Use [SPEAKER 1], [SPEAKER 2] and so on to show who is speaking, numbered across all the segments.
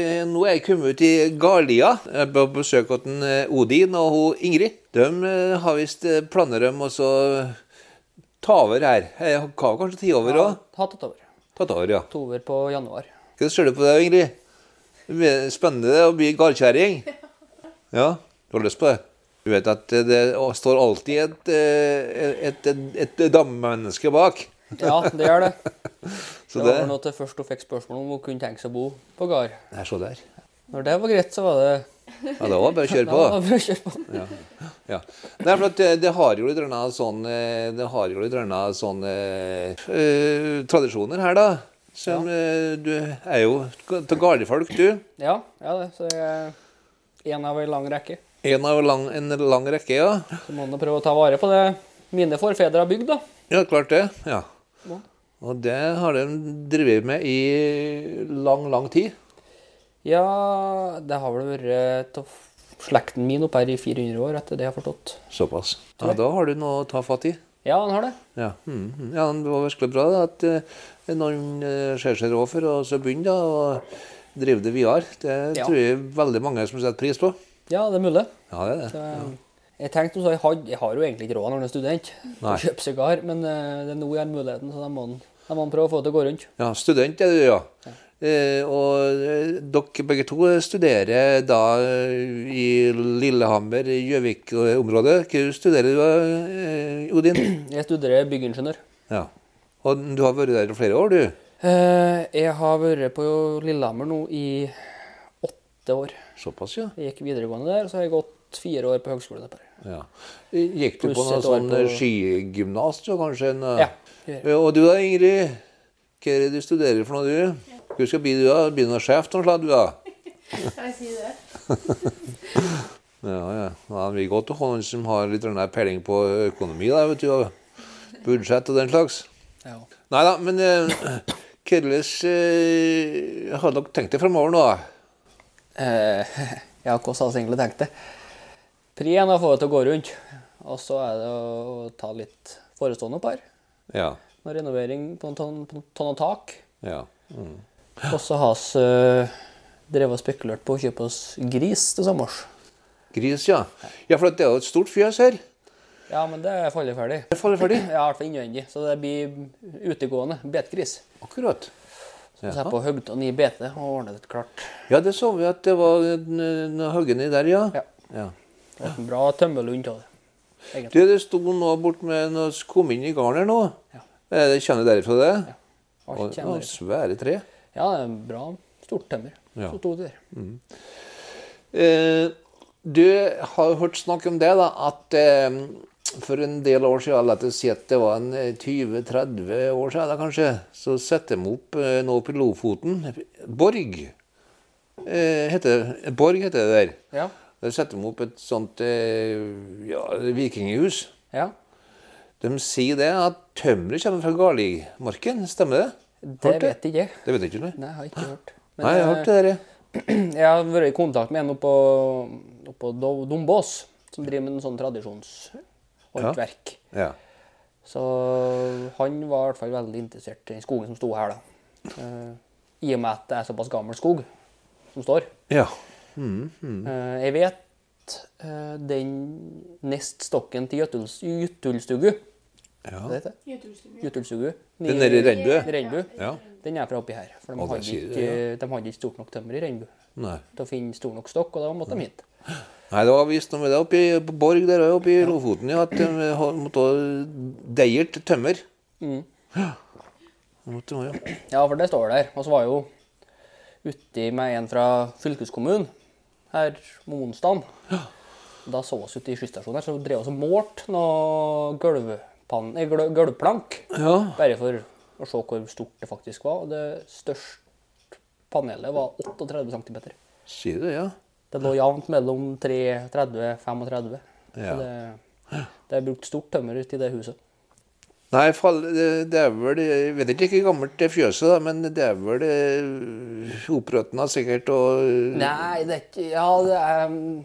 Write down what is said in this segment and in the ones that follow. [SPEAKER 1] Eh, Nå er jeg kommet ut i Galia. Jeg er på besøk hos en, eh, Odin og hun Ingrid. De eh, har visst eh, planer om å så ta over her. Jeg har kanskje tatt over òg?
[SPEAKER 2] Ta tatt over.
[SPEAKER 1] Tatt over, ja.
[SPEAKER 2] Tatt over på januar.
[SPEAKER 1] Hva ser du på det, Ingrid? Det blir spennende å bli gardkjerring. Ja, du har lyst på det? Du vet at eh, det står alltid et, eh, et, et, et dammemenneske bak.
[SPEAKER 2] Ja, det gjør det.
[SPEAKER 1] Så
[SPEAKER 2] det
[SPEAKER 1] det
[SPEAKER 2] var nå til først hun fikk spørsmål om hun kunne tenke seg å bo på gard.
[SPEAKER 1] Nei, se der.
[SPEAKER 2] Når det var greit, så var det
[SPEAKER 1] Ja, det var bare å kjøre på.
[SPEAKER 2] Ja, det var bare å kjøre på.
[SPEAKER 1] Ja. Nei, for at det, det har jo litt rønna sånn eh, Det har jo litt rønna sånn eh, eh, tradisjoner her, da. Som eh, Du er jo til gardefolk, du.
[SPEAKER 2] Ja, ja det. Så jeg er en av ei lang rekke.
[SPEAKER 1] En av lang, en lang rekke, ja.
[SPEAKER 2] Så må man prøve å ta vare på det mine forfedre har bygd, da.
[SPEAKER 1] Ja, klart det. Ja.
[SPEAKER 2] Ja.
[SPEAKER 1] Og det har de drevet med i lang, lang tid.
[SPEAKER 2] Ja, det har vel vært til slekten min oppe her i 400 år, etter det jeg har forstått.
[SPEAKER 1] Såpass. Ja, da har du noe å ta fatt i.
[SPEAKER 2] Ja, han har det.
[SPEAKER 1] Ja, mm, mm. ja det var virkelig bra da, at eh, noen eh, ser seg råd for og så begynner da, og driver det videre. Det
[SPEAKER 2] Ja.
[SPEAKER 1] tror jeg veldig mange som setter pris på.
[SPEAKER 2] Ja, det er mulig.
[SPEAKER 1] Ja, det er det.
[SPEAKER 2] Så, eh, Jeg tenkte også, jeg, hadde, jeg har jo egentlig ikke råd når jeg er student, til å
[SPEAKER 1] Nei.
[SPEAKER 2] kjøpe sigar, men eh, det er nå jeg har muligheten, så da må han- da må han prøve å få det til å gå rundt.
[SPEAKER 1] Ja, student er du, ja. Eh, og eh, dere begge to studerer da eh, i Lillehammer, i Gjøvik-området. Hva studerer du, eh, Odin?
[SPEAKER 2] Jeg studerer byggingeniør.
[SPEAKER 1] Ja. Og du har vært der i flere år, du.
[SPEAKER 2] Eh, Jeg har vært på Lillehammer nå i åtte år.
[SPEAKER 1] Såpass, ja.
[SPEAKER 2] Jeg gikk videregående der, så har jeg gått fire år på høgskolen. der.
[SPEAKER 1] ja. Gikk du på
[SPEAKER 2] Pluss
[SPEAKER 1] noe
[SPEAKER 2] et år
[SPEAKER 1] sånn
[SPEAKER 2] på-
[SPEAKER 1] skigymnas, da, kanskje? En,
[SPEAKER 2] Ja.
[SPEAKER 1] Ja, Og du da, Ingrid? Hva er det du studerer for noe, du? Hva skal bli du da? Bli noe sjef noe slags, du da?
[SPEAKER 3] Kan jeg si det?
[SPEAKER 1] Ja, ja. ja vi går til hånden som har litt denne peiling på økonomi, da, vet du. Og budsjett og den slags.
[SPEAKER 2] Ja.
[SPEAKER 1] Nei da, men eh, hvordan eh, har dere tenkt det fremover nå? da?
[SPEAKER 2] Eh, ja, hvordan hadde jeg egentlig tenkt det? Pri én er å få det til å gå rundt, og så er det å ta litt forestående opp her.
[SPEAKER 1] Ja.
[SPEAKER 2] Med renovering på en tonn, på en tonn og tak.
[SPEAKER 1] ja.
[SPEAKER 2] Og så har vi eh, drevet og spekulert på å kjøpe oss gris til sommers.
[SPEAKER 1] Gris, ja. Ja, for det er jo et stort fjøs her.
[SPEAKER 2] Ja, men det er fallet ferdig.
[SPEAKER 1] Det faller ferdig.
[SPEAKER 2] Ja, i hvert fall innvendig. Så det blir utegående betgris.
[SPEAKER 1] Akkurat.
[SPEAKER 2] Så jeg er på høgda ny bete og ordner det klart.
[SPEAKER 1] Ja, det så vi at det var noe hoggen i der, ja.
[SPEAKER 2] Ja.
[SPEAKER 1] ja.
[SPEAKER 2] Det ble en bra tømmerlund av det. Egentlig.
[SPEAKER 1] Du, det sto nå bort med noe skum inn i garnet nå.
[SPEAKER 2] Ja.
[SPEAKER 1] Eh, Det kjenner dere fra det?
[SPEAKER 2] Alt
[SPEAKER 1] Og,
[SPEAKER 2] kjenner
[SPEAKER 1] og
[SPEAKER 2] jeg.
[SPEAKER 1] svære tre.
[SPEAKER 2] Ja, det er en bra stort tømmer.
[SPEAKER 1] Ja.
[SPEAKER 2] Så sto det der.
[SPEAKER 1] Eh, du har hørt snakk om det, da, at eh, for en del år siden, la oss si at det var en eh, 20-30 år siden da kanskje, så setter de opp eh, nå på Lofoten Borg. Eh, heter, Borg heter det der.
[SPEAKER 2] Ja.
[SPEAKER 1] Der setter de opp et sånt eh, ja, vikinghus.
[SPEAKER 2] ja.
[SPEAKER 1] De sier det at tømmeret kommer fra Garligmarken, stemmer det?
[SPEAKER 2] Det
[SPEAKER 1] Hørte?
[SPEAKER 2] vet jeg ikke. eh,
[SPEAKER 1] Det vet jeg ikke. Nei,
[SPEAKER 2] Nei, jeg har ikke hørt. Men eh,
[SPEAKER 1] Nei jeg har hørt det der. ja.
[SPEAKER 2] jeg, jeg har vært i kontakt med en oppe oppe på Do- Dombås, som driver med en sånn tradisjonshåndverk.
[SPEAKER 1] Ja.
[SPEAKER 2] Så han var i hvert fall veldig interessert i den skogen som sto her, da. Eh, I og med at det er såpass gammel skog som står.
[SPEAKER 1] ja. Hmm.
[SPEAKER 2] Eh, jeg vet eh, den nest stokken til Jøtuls- Jøtulstugu.
[SPEAKER 1] Ja.
[SPEAKER 2] Hva heter det?
[SPEAKER 3] Youtube-studio.
[SPEAKER 2] Jøtulstugu.
[SPEAKER 1] Den nede i Rendu?
[SPEAKER 2] Rendu.
[SPEAKER 1] Ja.
[SPEAKER 2] Den er fra oppi her. For de
[SPEAKER 1] Å, det
[SPEAKER 2] hadde
[SPEAKER 1] sier
[SPEAKER 2] ikke, de hadde ikke stort nok tømmer i Rendu
[SPEAKER 1] Nei.
[SPEAKER 2] til å finne stor nok stokk, og da måtte de hit.
[SPEAKER 1] Nei, det var visst noe med det oppi på Borg der og oppi Lofoten, ja, at de har- måtte ha deiert tømmer.
[SPEAKER 2] Mm.
[SPEAKER 1] Ja. Måtte ha, ja.
[SPEAKER 2] Ja, for det står der. Og så var jeg jo uti med en fra fylkeskommunen her om onsdagen. Da så vi ute i skysstasjonen her, så drev vi og målte noe gulvpann- eh, gulv- gulvplank.
[SPEAKER 1] ja.
[SPEAKER 2] Bare for å se hvor stort det faktisk var. Og det største panelet var 38 cm.
[SPEAKER 1] Sier det, ja.
[SPEAKER 2] Det lå jevnt mellom 33 og 35.
[SPEAKER 1] Ja.
[SPEAKER 2] Så det, det er brukt stort tømmer ute i det huset.
[SPEAKER 1] Nei, fall, det det er vel Jeg vet ikke hvor gammelt det fjøset da, men det er vel eh, opprøtna sikkert og
[SPEAKER 2] Nei, det er ikke Ja, det er mm,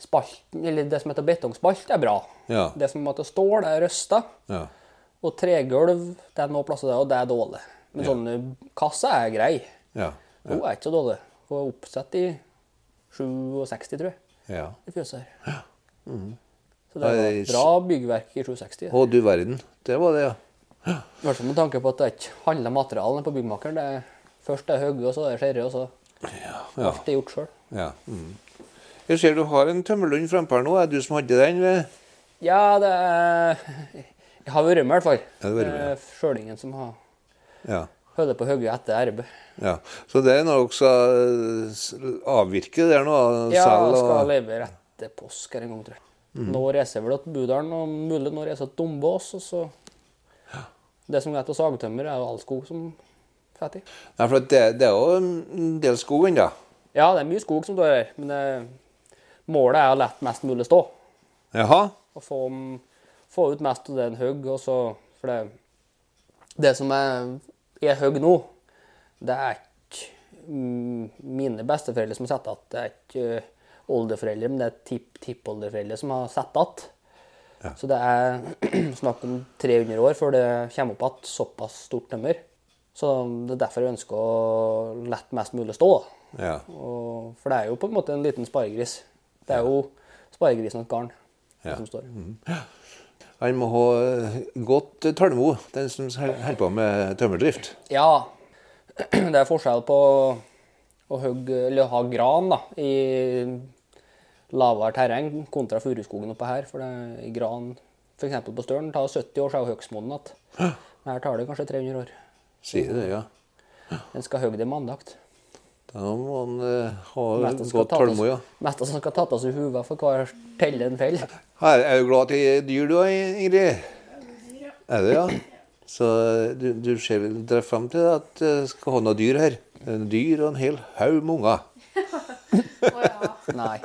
[SPEAKER 2] spalten, eller det som heter betongspalt, er bra.
[SPEAKER 1] Ja.
[SPEAKER 2] Det som heter stål, er røsta.
[SPEAKER 1] Ja.
[SPEAKER 2] Og tregulv, det sånn, uh, er noen plasser der, og det er dårlig. Men sånne kasser er grei.
[SPEAKER 1] Ja.
[SPEAKER 2] Hun er ikke så dårlig. var oppsatt i 67, tror jeg,
[SPEAKER 1] Ja.
[SPEAKER 2] i fjøset her. Mm-hmm. Så det
[SPEAKER 1] Nei,
[SPEAKER 2] var
[SPEAKER 1] det
[SPEAKER 2] et
[SPEAKER 1] er-
[SPEAKER 2] bra byggverk i 67. ja.
[SPEAKER 1] Å, du verden. Det var det, ja.
[SPEAKER 2] I hvert fall med tanke på at det ikke handler om materialene på byggmakeren. Det er, først er det hugge, og så er det skjære, og så
[SPEAKER 1] Ja.
[SPEAKER 2] alt er gjort sjøl.
[SPEAKER 1] ja. Mm. Jeg ser du har en tømmerlund frempå her nå. Er det du som hadde den? eh?
[SPEAKER 2] Ja, det er Jeg har vært med, i hvert fall.
[SPEAKER 1] Ja, du har vært med, ja.
[SPEAKER 2] Det er Sjølingen som har
[SPEAKER 1] Ja.
[SPEAKER 2] hølet på hugget etter arbeid.
[SPEAKER 1] ja. Så det er noe som eh, s- avvirke der nå?
[SPEAKER 2] Ja,
[SPEAKER 1] selv og- Mhm.
[SPEAKER 2] skal levere etter påske eller en gang, tror jeg. Nå reiser vel til Budalen, og mulig nå reiser til Dombås, og så Det som er til sagtømmer, er jo all skog som fatter i.
[SPEAKER 1] Nei, for at det, det er jo en del skog ennå.
[SPEAKER 2] Ja, det er mye skog som står her, men det, målet er å la mest mulig stå.
[SPEAKER 1] Jaha?
[SPEAKER 2] Og få, få ut mest av det en hugg, og så For det, det som er, er hugg nå, det er ikke mm, mine besteforeldre som har satt igjen. Det er ikke eh, oldeforeldre, men det er tipp- tippoldeforeldre som har satt igjen.
[SPEAKER 1] Ja.
[SPEAKER 2] Så det er snakk om 300 år før det kommer opp igjen såpass stort nummer. Så det er derfor jeg ønsker å la mest mulig stå. da.
[SPEAKER 1] Ja.
[SPEAKER 2] Og, for det er jo på en måte en liten sparegris. Det er jo sparegrisen og et garn det som står.
[SPEAKER 1] Han må ha eh, godt tålmod, den som hel- holder på med tømmerdrift.
[SPEAKER 2] Ja, det er forskjell på å hogge, eller ha gran da, i lavere terreng kontra furuskogen oppe her. For det er gran f.eks. på Støren tar 70 år, så er jo hogstmoden igjen. Men her tar det kanskje 300 år.
[SPEAKER 1] Sier det, ja.
[SPEAKER 2] En skal hogge det med andakt.
[SPEAKER 1] Da må han eh, ha
[SPEAKER 2] Mest skal
[SPEAKER 1] godt
[SPEAKER 2] tas-
[SPEAKER 1] tålmod, ja.
[SPEAKER 2] mest som skal tattes i huet for hver telle en feller.
[SPEAKER 1] Her er jo glad i dyr du er, Ingrid. Er det, ja? Så eh, du, du ser vel drar frem til at du skal ha noen dyr her. En dyr og en hel haug med unger.
[SPEAKER 3] Å ja.
[SPEAKER 2] Nei.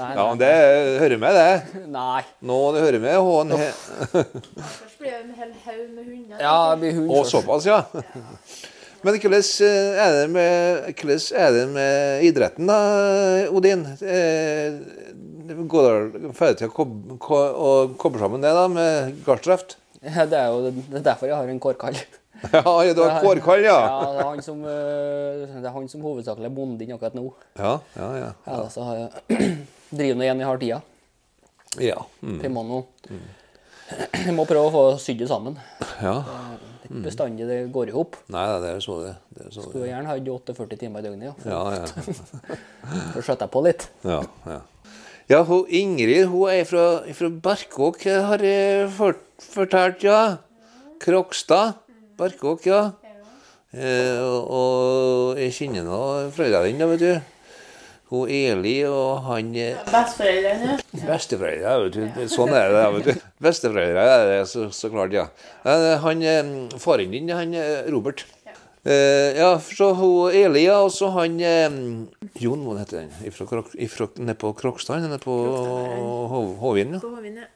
[SPEAKER 2] Nei,
[SPEAKER 1] Ja,
[SPEAKER 2] nei.
[SPEAKER 1] det hører med, det.
[SPEAKER 2] nei.
[SPEAKER 1] Nå det hører med. Og, en he
[SPEAKER 3] Først blir det en hel haug med hunder.
[SPEAKER 2] Ja, det blir hund
[SPEAKER 1] og
[SPEAKER 2] først.
[SPEAKER 1] såpass, ja. Men hvordan eh, er det med, hvordan er det med idretten, da, Odin? Eh, Går det ferdig til å kob- ko- å koble sammen det da med gardsdrift?
[SPEAKER 2] Ja, Det er jo det er derfor jeg har en kårkall.
[SPEAKER 1] Ja, du har kårkall, ja.
[SPEAKER 2] ja det, er han som, eh, det er han som hovedsakelig er bonden akkurat nå.
[SPEAKER 1] Ja, ja, ja.
[SPEAKER 2] Ellers så har jeg driver nå igjen jeg har tida.
[SPEAKER 1] Ja. Mm.
[SPEAKER 2] for Jeg må nå Jeg må prøve å få sydd det sammen.
[SPEAKER 1] ja.
[SPEAKER 2] Det
[SPEAKER 1] Mm.
[SPEAKER 2] er ikke bestandig det går i hop.
[SPEAKER 1] Nei, nei, det er jo så det. det, er så
[SPEAKER 2] Skulle
[SPEAKER 1] det.
[SPEAKER 2] gjerne hatt 48 timer i døgnet, ja.
[SPEAKER 1] Ja, ja.
[SPEAKER 2] For å skjøtte jeg på litt.
[SPEAKER 1] ja, ja. ja hun, Ingrid hun er fra, fra Barkåk, har jeg fort, fortalt, ja. Krokstad. Barkåk, ja. Eh, og, og jeg kjenner nå foreldrene dine, vet du. Hun Eli og han eh,
[SPEAKER 3] Besteforeldrene, ja.
[SPEAKER 1] Besteforeldre, vet du. Det- Sånn er det, vet du. Besteforeldre er det, så, så klart, ja. Eh, Han, eh, Faren din, han eh, Robert. Eh, ja, så hun Elia, og så han eh, Jon, hva heter han? Ifra, Krok- ifra, nede på Krokstad, nede på Hov- Hovin, ja.
[SPEAKER 3] På hovedvind, ja.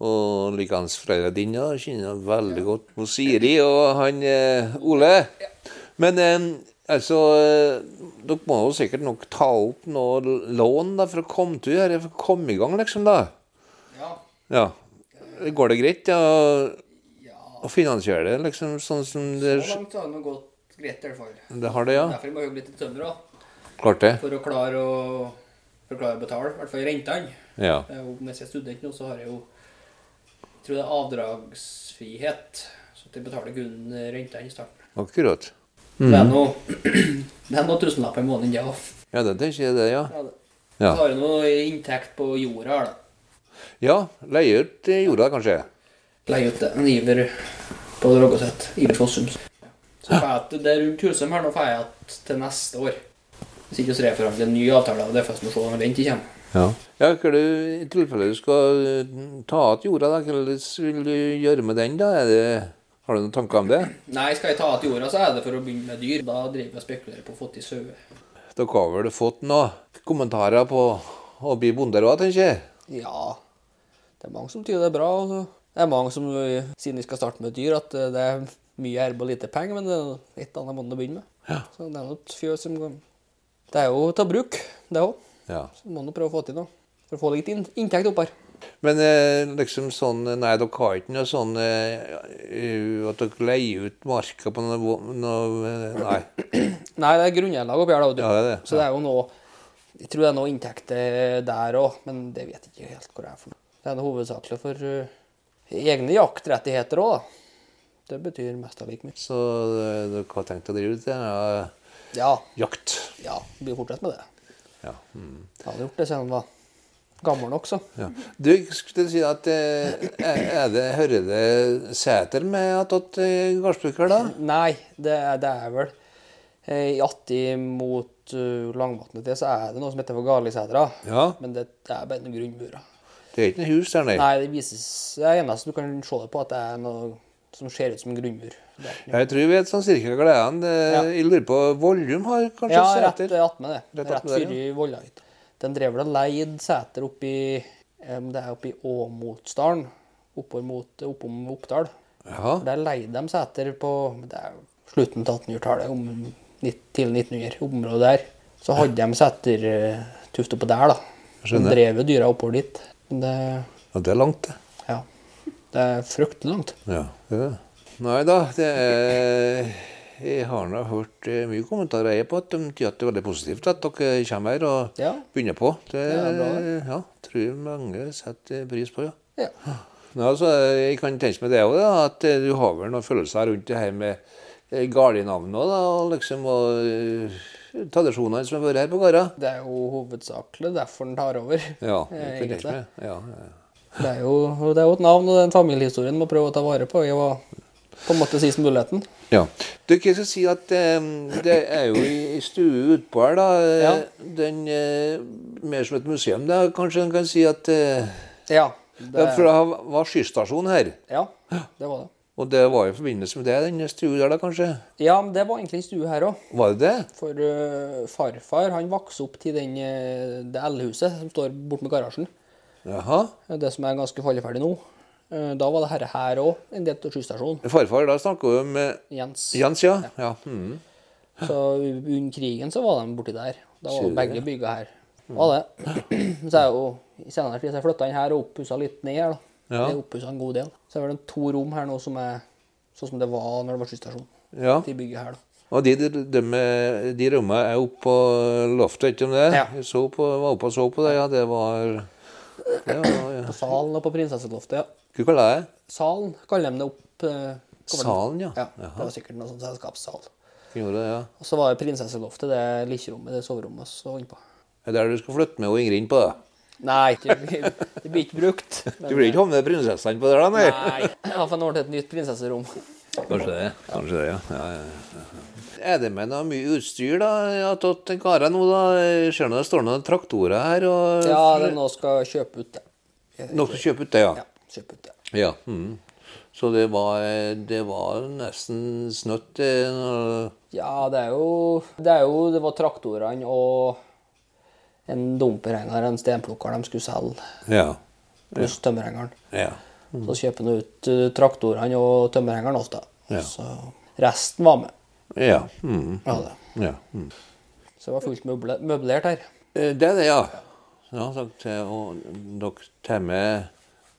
[SPEAKER 1] Og likeens foreldrene dine, ja, kjenner jeg veldig godt med Siri og han eh, Ole. Men eh, altså eh, Dere må jo sikkert nok ta opp noe lån da, for å komme til her, for å komme i gang, liksom, da. Ja. Går det greit ja, å finansiere det, liksom, sånn som det,
[SPEAKER 2] langt har det gått greit, i hvert fall.
[SPEAKER 1] det har det, ja?
[SPEAKER 2] Derfor må jeg jobbe litt i tømmer òg.
[SPEAKER 1] Klart det?
[SPEAKER 2] For å klare å, betale, i hvert fall rentene.
[SPEAKER 1] Ja.
[SPEAKER 2] Det er jo, mens jeg er student nå, så har jeg jo jeg tror det er avdragsfrihet. Så at jeg betaler kun rentene i starten.
[SPEAKER 1] Akkurat.
[SPEAKER 2] Det er noe, det er noe tusenlapper i måneden, det òg.
[SPEAKER 1] Ja, det tenker jeg det, ja.
[SPEAKER 2] Så
[SPEAKER 1] Ja,
[SPEAKER 2] har jeg noe inntekt på jorda her, da.
[SPEAKER 1] ja leie ut eh, jorda, kanskje?
[SPEAKER 2] Leie ut en iver på Rogaset. Iver Fossum. Så får jeg til det rundt Husum her nå får jeg at til neste år. Hvis ikke så reforhandler en ny avtale, og det er først når sånn rent ikke kommer.
[SPEAKER 1] Ja. ja hva du, I tilfelle du skal eh, ta igjen jorda, da, hva vil du gjøre med den? da? Er det, har du noen tanker om det?
[SPEAKER 2] Nei, skal jeg ta til jorda, så er det for å begynne med dyr. Da driver jeg og spekulerer på å få til sauer.
[SPEAKER 1] Dere har vel fått noen kommentarer på å bli bonder òg, tenker jeg?
[SPEAKER 2] Ja, det er mange som tyder det er bra. Altså. Det er mange som, ø, siden vi skal starte med dyr, at ø, det er mye arbeid og lite penger, men det er et annet måned å begynne med. Så det er noe et fjøs som går. Det er jo å ta bruk, det òg.
[SPEAKER 1] Ja.
[SPEAKER 2] Så må man jo prøve å få til noe. For å få litt inn- inntekt opp her.
[SPEAKER 1] Men eh, liksom sånn Nei, dere har ikke noe sånn eh, eh, at dere leier ut marka på noe, vo- noe eh, Nei.
[SPEAKER 2] Nei, det er grunnlag oppi her, da. vet du.
[SPEAKER 1] Ja, det er det.
[SPEAKER 2] Så det er jo noe Jeg tror det er noe inntekter der òg, men det vet jeg ikke helt hvor det er for noe. Det er noe hovedsakelig for eh, egne jaktrettigheter òg, da. Det betyr mest av like mye.
[SPEAKER 1] Så eh, dere har tenkt å drive ut det? Ja,
[SPEAKER 2] Ja,
[SPEAKER 1] jakt.
[SPEAKER 2] ja, vi blir fortsatt med det.
[SPEAKER 1] Ja. Mm.
[SPEAKER 2] Jeg hadde gjort det siden jeg var gammel nok, så.
[SPEAKER 1] Ja. Du, jeg skulle si at eh, er er det, Hører det Sæter med at at eh, gardsbruker, da?
[SPEAKER 2] Nei, det er, det er vel eh, I Atti mot uh, Langvatnet til, så er det noe som heter for Galisætra.
[SPEAKER 1] Ja.
[SPEAKER 2] Men det er bare noen grunnmurer.
[SPEAKER 1] Det er ikke noe hus der, nei.
[SPEAKER 2] Nei, det vises Det er eneste du kan se det på, at det er noe som ser ut som en grunnmur. Det er ikke noe-
[SPEAKER 1] Jeg tror vi vet sånn cirka gleden.
[SPEAKER 2] Ja.
[SPEAKER 1] Jeg lurer på Vollum har kanskje
[SPEAKER 2] Ja, rett
[SPEAKER 1] Sæter?
[SPEAKER 2] attmed det.
[SPEAKER 1] Rett
[SPEAKER 2] Rett,
[SPEAKER 1] attmed
[SPEAKER 2] rett
[SPEAKER 1] der, ja.
[SPEAKER 2] fyr i Vollahøyt. Den drev vel og leid seter oppi em, Det er oppi Åmotsdalen. Oppover mot oppom Oppdal.
[SPEAKER 1] Ja.
[SPEAKER 2] For Der leide de seter på det er jo slutten av 1800-tallet, om nitt- tidlig 1900. Området der. Så hadde de setertuft oppå der, da. Så
[SPEAKER 1] Skjønner.
[SPEAKER 2] de drev jo dyra oppover dit. Men det
[SPEAKER 1] ja. Det er langt, det.
[SPEAKER 2] Ja. Det er fryktelig langt.
[SPEAKER 1] Ja, det er det. Nei da, det er Jeg har nå hørt eh, mye kommentarer jeg på at de sier at det er veldig positivt at dere kommer her og
[SPEAKER 2] Ja.
[SPEAKER 1] begynner på. Det
[SPEAKER 2] Ja, bra,
[SPEAKER 1] ja, tror jeg mange setter pris på, ja.
[SPEAKER 2] Ja.
[SPEAKER 1] Nei, altså, jeg kan tenke meg det òg, at eh, du har vel noen følelser rundt det her med eh, gardinavnet òg, da, og liksom og eh, tradisjonene som har vært her på gårda.
[SPEAKER 2] Det er jo hovedsakelig derfor den tar over.
[SPEAKER 1] Ja,
[SPEAKER 2] Eh,
[SPEAKER 1] jeg kan
[SPEAKER 2] egentlig.
[SPEAKER 1] tenke meg. Ja, ja. ja.
[SPEAKER 2] Det er jo, og det er jo et navn, og den familiehistorien må prøve å ta vare på. Jeg var på en måte sist muligheten.
[SPEAKER 1] Ja. Du, jeg skal si at eh, det er jo i i stue utpå her, da. eh,
[SPEAKER 2] Ja.
[SPEAKER 1] Den eh, Mer som et museum, da, kanskje en kan si at eh,
[SPEAKER 2] Ja,
[SPEAKER 1] ja,
[SPEAKER 2] det,
[SPEAKER 1] For det var skystasjon her,
[SPEAKER 2] ja, det var det.
[SPEAKER 1] og det var i forbindelse med det, den stue der, da, kanskje?
[SPEAKER 2] Ja, men det var egentlig en stue her òg.
[SPEAKER 1] Var det det?
[SPEAKER 2] For øh, farfar han vokste opp til den, øh, det L-huset som står borte med garasjen. Eh,
[SPEAKER 1] Jaha.
[SPEAKER 2] Det som er ganske falleferdig nå. Eh, Da var det herre her òg, en del av skysstasjonen.
[SPEAKER 1] Farfar, da snakker vi om eh,
[SPEAKER 2] Jens.
[SPEAKER 1] Jens, ja? ja. mhm.
[SPEAKER 2] Så under krigen så var de borti der. Da
[SPEAKER 1] Sier
[SPEAKER 2] var
[SPEAKER 1] du
[SPEAKER 2] begge bygga her. Var det. Så er jo i senere tid så har jeg flytta inn her og oppussa litt ned her, da.
[SPEAKER 1] Ja.
[SPEAKER 2] Det er oppussa en god del. Så er det vel to rom her nå som er sånn som det var når det var skysstasjon.
[SPEAKER 1] Ja.
[SPEAKER 2] De bygget her, da.
[SPEAKER 1] Og de, de, de, de rommene er oppe på loftet, vet du om det?
[SPEAKER 2] Ja.
[SPEAKER 1] Jeg så på, var oppe og så på det, ja. Det var det var, ja.
[SPEAKER 2] På salen og på prinsesseloftet, ja.
[SPEAKER 1] Hva kaller jeg det?
[SPEAKER 2] Salen kaller de det opp. eh, kommer det-
[SPEAKER 1] Salen, ja.
[SPEAKER 2] Ja, det var sikkert noe sånn selskapssal.
[SPEAKER 1] Gjorde det, ja.
[SPEAKER 2] Og så var det prinsesseloftet, det likjerommet, det soverommet vi var inne på.
[SPEAKER 1] Det er der du skal flytte med og Ingrid inn på det.
[SPEAKER 2] Nei, det det blir ikke brukt.
[SPEAKER 1] Du blir ikke havnet prinsessene på det, da? Nei.
[SPEAKER 2] Nei. Iallfall når til et nytt prinsesserom.
[SPEAKER 1] Kanskje det. Kanskje det, ja. Ja, ja, ja. Er det med noe mye utstyr, da? At at karene nå, da? Jeg Ser nå det står noen traktorer her. og...
[SPEAKER 2] Ja, det er nå skal kjøpe ut det.
[SPEAKER 1] Noen som kjøper ut det, ja.
[SPEAKER 2] Ja, kjøpe ut det.
[SPEAKER 1] Ja. mhm. Så det var, eh, det var nesten snøtt. eh, når-
[SPEAKER 2] Ja, det er jo Det, er jo, det var traktorene og en dumperhenger, en stenplukker, de skulle selge,
[SPEAKER 1] Ja. Mm.
[SPEAKER 2] pluss tømmerhengeren.
[SPEAKER 1] ja.
[SPEAKER 2] Så kjøper han ut eh, traktorene og tømmerhengeren ofte.
[SPEAKER 1] Ja.
[SPEAKER 2] Så resten var med.
[SPEAKER 1] Ja. mhm.
[SPEAKER 2] Ja, det.
[SPEAKER 1] ja. mhm.
[SPEAKER 2] Så det var fullt møble, møblert her.
[SPEAKER 1] Eh, Det er det, ja. Ja, sagt, eh, og dere tar med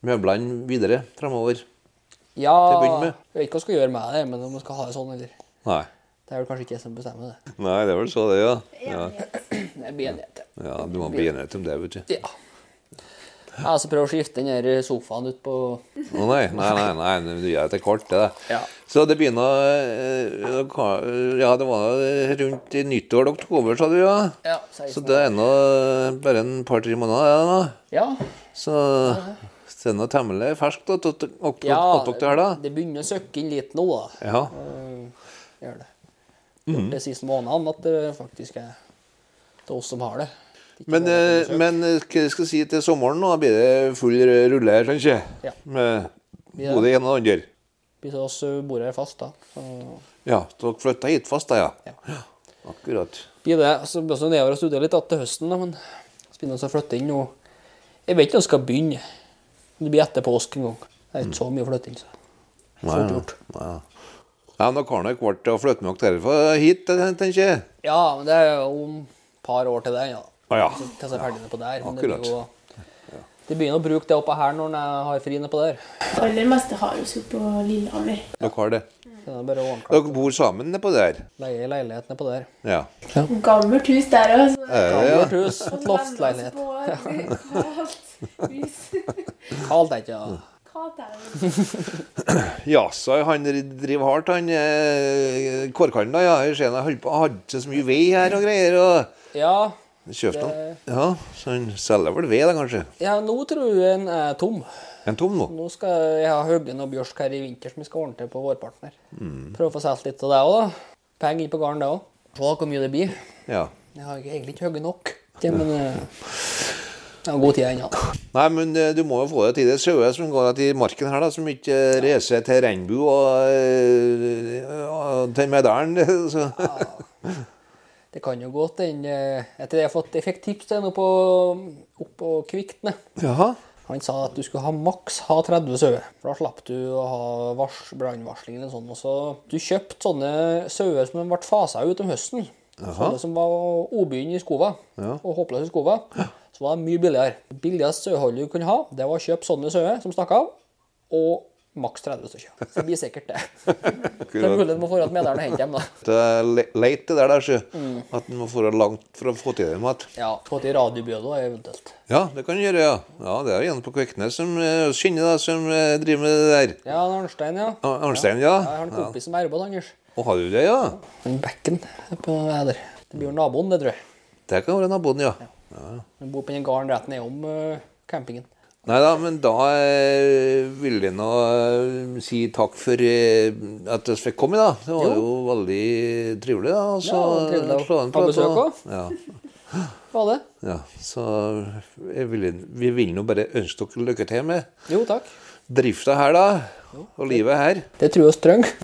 [SPEAKER 1] møblene videre framover.
[SPEAKER 2] Ja,
[SPEAKER 1] å begynne med.
[SPEAKER 2] jeg vet ikke hva jeg skal gjøre med det, men om jeg skal ha det sånn, eller
[SPEAKER 1] Nei.
[SPEAKER 2] Det er vel kanskje ikke jeg som bestemmer det.
[SPEAKER 1] Nei, det er vel så det, ja. Ja,
[SPEAKER 3] Enighet.
[SPEAKER 2] Det blir enighet. ja.
[SPEAKER 1] ja Du må bli enighet om det, vet du.
[SPEAKER 2] Ja. Jeg skal prøve å skifte den her sofaen ut på
[SPEAKER 1] Å nei, nei, nei, nei, nei, du gjør det til kort, det da.
[SPEAKER 2] Ja.
[SPEAKER 1] Så det begynner eh, eh, ka- Ja, det var eh, rundt i nyttår, oktober, sa du, ja?
[SPEAKER 2] Ja,
[SPEAKER 1] Så
[SPEAKER 2] 16.
[SPEAKER 1] det er nå eh, bare en par-tre måneder ja, nå.
[SPEAKER 2] Ja,
[SPEAKER 1] Så så det er nå temmelig ferskt at dere at
[SPEAKER 2] ja
[SPEAKER 1] dere det her, da.
[SPEAKER 2] det begynner å søkke inn litt nå, da.
[SPEAKER 1] Ja.
[SPEAKER 2] Eh, Gjør det. Gjort
[SPEAKER 1] Mhm.
[SPEAKER 2] det siste måneden at det faktisk er det er oss som har det. Ikke
[SPEAKER 1] Men,
[SPEAKER 2] bare at
[SPEAKER 1] eh,
[SPEAKER 2] det er søk.
[SPEAKER 1] men eh, hva skal jeg si til sommeren nå? Blir det full r- rulle her, kanskje?
[SPEAKER 2] Ja.
[SPEAKER 1] Med
[SPEAKER 2] Ja.
[SPEAKER 1] både en og andre.
[SPEAKER 2] Hvis oss eh, bor her fast, da. Så
[SPEAKER 1] Ja, dere flytta hit fast, da, ja.
[SPEAKER 2] Ja.
[SPEAKER 1] Akkurat.
[SPEAKER 2] blir det. Så blir det også nedover og studere litt igjen til høsten, da, men så begynner vi å flytte inn nå. Jeg vet ikke når jeg skal begynne. Det blir etter påske en gang. Det er ikke så mye flytting. Så. Fort
[SPEAKER 1] ja.
[SPEAKER 2] gjort.
[SPEAKER 1] Ja. Ja, men dere har nok vært og flyttet med dere derfra hit, ten- tenker jeg.
[SPEAKER 2] Ja, men det er jo om et par år til det. Ja.
[SPEAKER 1] Å ja.
[SPEAKER 2] Til jeg er ferdig på der. Men
[SPEAKER 1] akkurat.
[SPEAKER 2] det blir jo De begynner å bruke det oppå her når jeg har fri nede på der.
[SPEAKER 3] Det aller meste har vi jo på Lillehammer.
[SPEAKER 1] Dere har det.
[SPEAKER 2] Så det er bare å ordne
[SPEAKER 1] Dere bor sammen nedpå der?
[SPEAKER 2] Leie leilighet nede på der.
[SPEAKER 1] Ja.
[SPEAKER 3] Gammelt hus der òg.
[SPEAKER 1] Er det, ja.
[SPEAKER 2] Gammelt hus, loftleilighet.
[SPEAKER 3] Kaldt hus.
[SPEAKER 2] Kaldt er ikke ja.
[SPEAKER 3] Kaldt er det.
[SPEAKER 1] Jaså, han driver hardt, han eh, Kårkallen, da. Ja, jeg ser han holdt på- hadde ikke så mye ved her og greier. og...
[SPEAKER 2] Ja,
[SPEAKER 1] Kjøpte han?
[SPEAKER 2] Det-
[SPEAKER 1] Ja, så han selger vel ved, da, kanskje?
[SPEAKER 2] ja, nå tror jeg den er tom.
[SPEAKER 1] En tom nå?
[SPEAKER 2] Nå skal jeg ha høggen og bjørsk her i vinter som vi skal ordne til på vårpartner. Prøve å få solgt litt av det òg, da. Penger inn på gården, det òg. Se hvor mye det blir.
[SPEAKER 1] Ja.
[SPEAKER 2] Jeg har ikke- egentlig ikke høgget nok. Ja, men eh, jeg har god tid ennå.
[SPEAKER 1] Nei, men eh, du må jo få det til. Det er sauer som går til marken her, da, som ikke eh, reiser til Regnbu og, eh, og til Medalen. Så.
[SPEAKER 2] Det kan jo godt hende eh, Etter det jeg, har fått, jeg fikk tips til noe på, opp på Kvikne.
[SPEAKER 1] Jaha.
[SPEAKER 2] Han sa at du skulle ha maks ha 30 sauer. For Da slapp du å ha vars, brannvarsling eller sånn. Og så du kjøpte sånne sauer som ble fasa ut om høsten. Sånne som var obyen i skova, og håpløse i skova. Så var det mye billigere. Det billigste saueholdet du kunne ha, det var å kjøpe sånne sauer som stakk av, og maks 30 stykker. Så det blir sikkert det. Det er
[SPEAKER 1] Akkurat.
[SPEAKER 2] mulig du må få at medlemmene henter dem, da.
[SPEAKER 1] Det er le- leit det der, da, sjø.
[SPEAKER 2] Mm.
[SPEAKER 1] At en må få langt for å få til dem igjen.
[SPEAKER 2] Ja, få til radiobjøda eventuelt.
[SPEAKER 1] Ja, det kan du gjøre, ja. Ja, Det er jo en på Kviknes som eh, Skinne, da, som eh, driver med det der.
[SPEAKER 2] Ja, Arnstein, ja.
[SPEAKER 1] Ar- Arnstein, ja.
[SPEAKER 2] Jeg har en kompis som er robot, Anders.
[SPEAKER 1] Å, har du det, ja?
[SPEAKER 2] Den bekken på her der. Det blir jo naboen, det, tror jeg.
[SPEAKER 1] Det kan være naboen, ja.
[SPEAKER 2] Han bor på den gården rett nedom eh, campingen.
[SPEAKER 1] Nei da, men da eh, vil jeg nå eh, si takk for eh, at vi fikk komme, da. Det var jo, veldig trivelig, da. og Så,
[SPEAKER 2] Ja, det var trivelig å
[SPEAKER 1] slå en
[SPEAKER 2] ha
[SPEAKER 1] prat,
[SPEAKER 2] besøk
[SPEAKER 1] og- Ja,
[SPEAKER 2] Var det?
[SPEAKER 1] ja. Så jeg vil, vi vil nå bare ønske dere lykke til med
[SPEAKER 2] Jo, takk.
[SPEAKER 1] drifta her, da. Og livet her.
[SPEAKER 2] Det tror jeg vi trenger.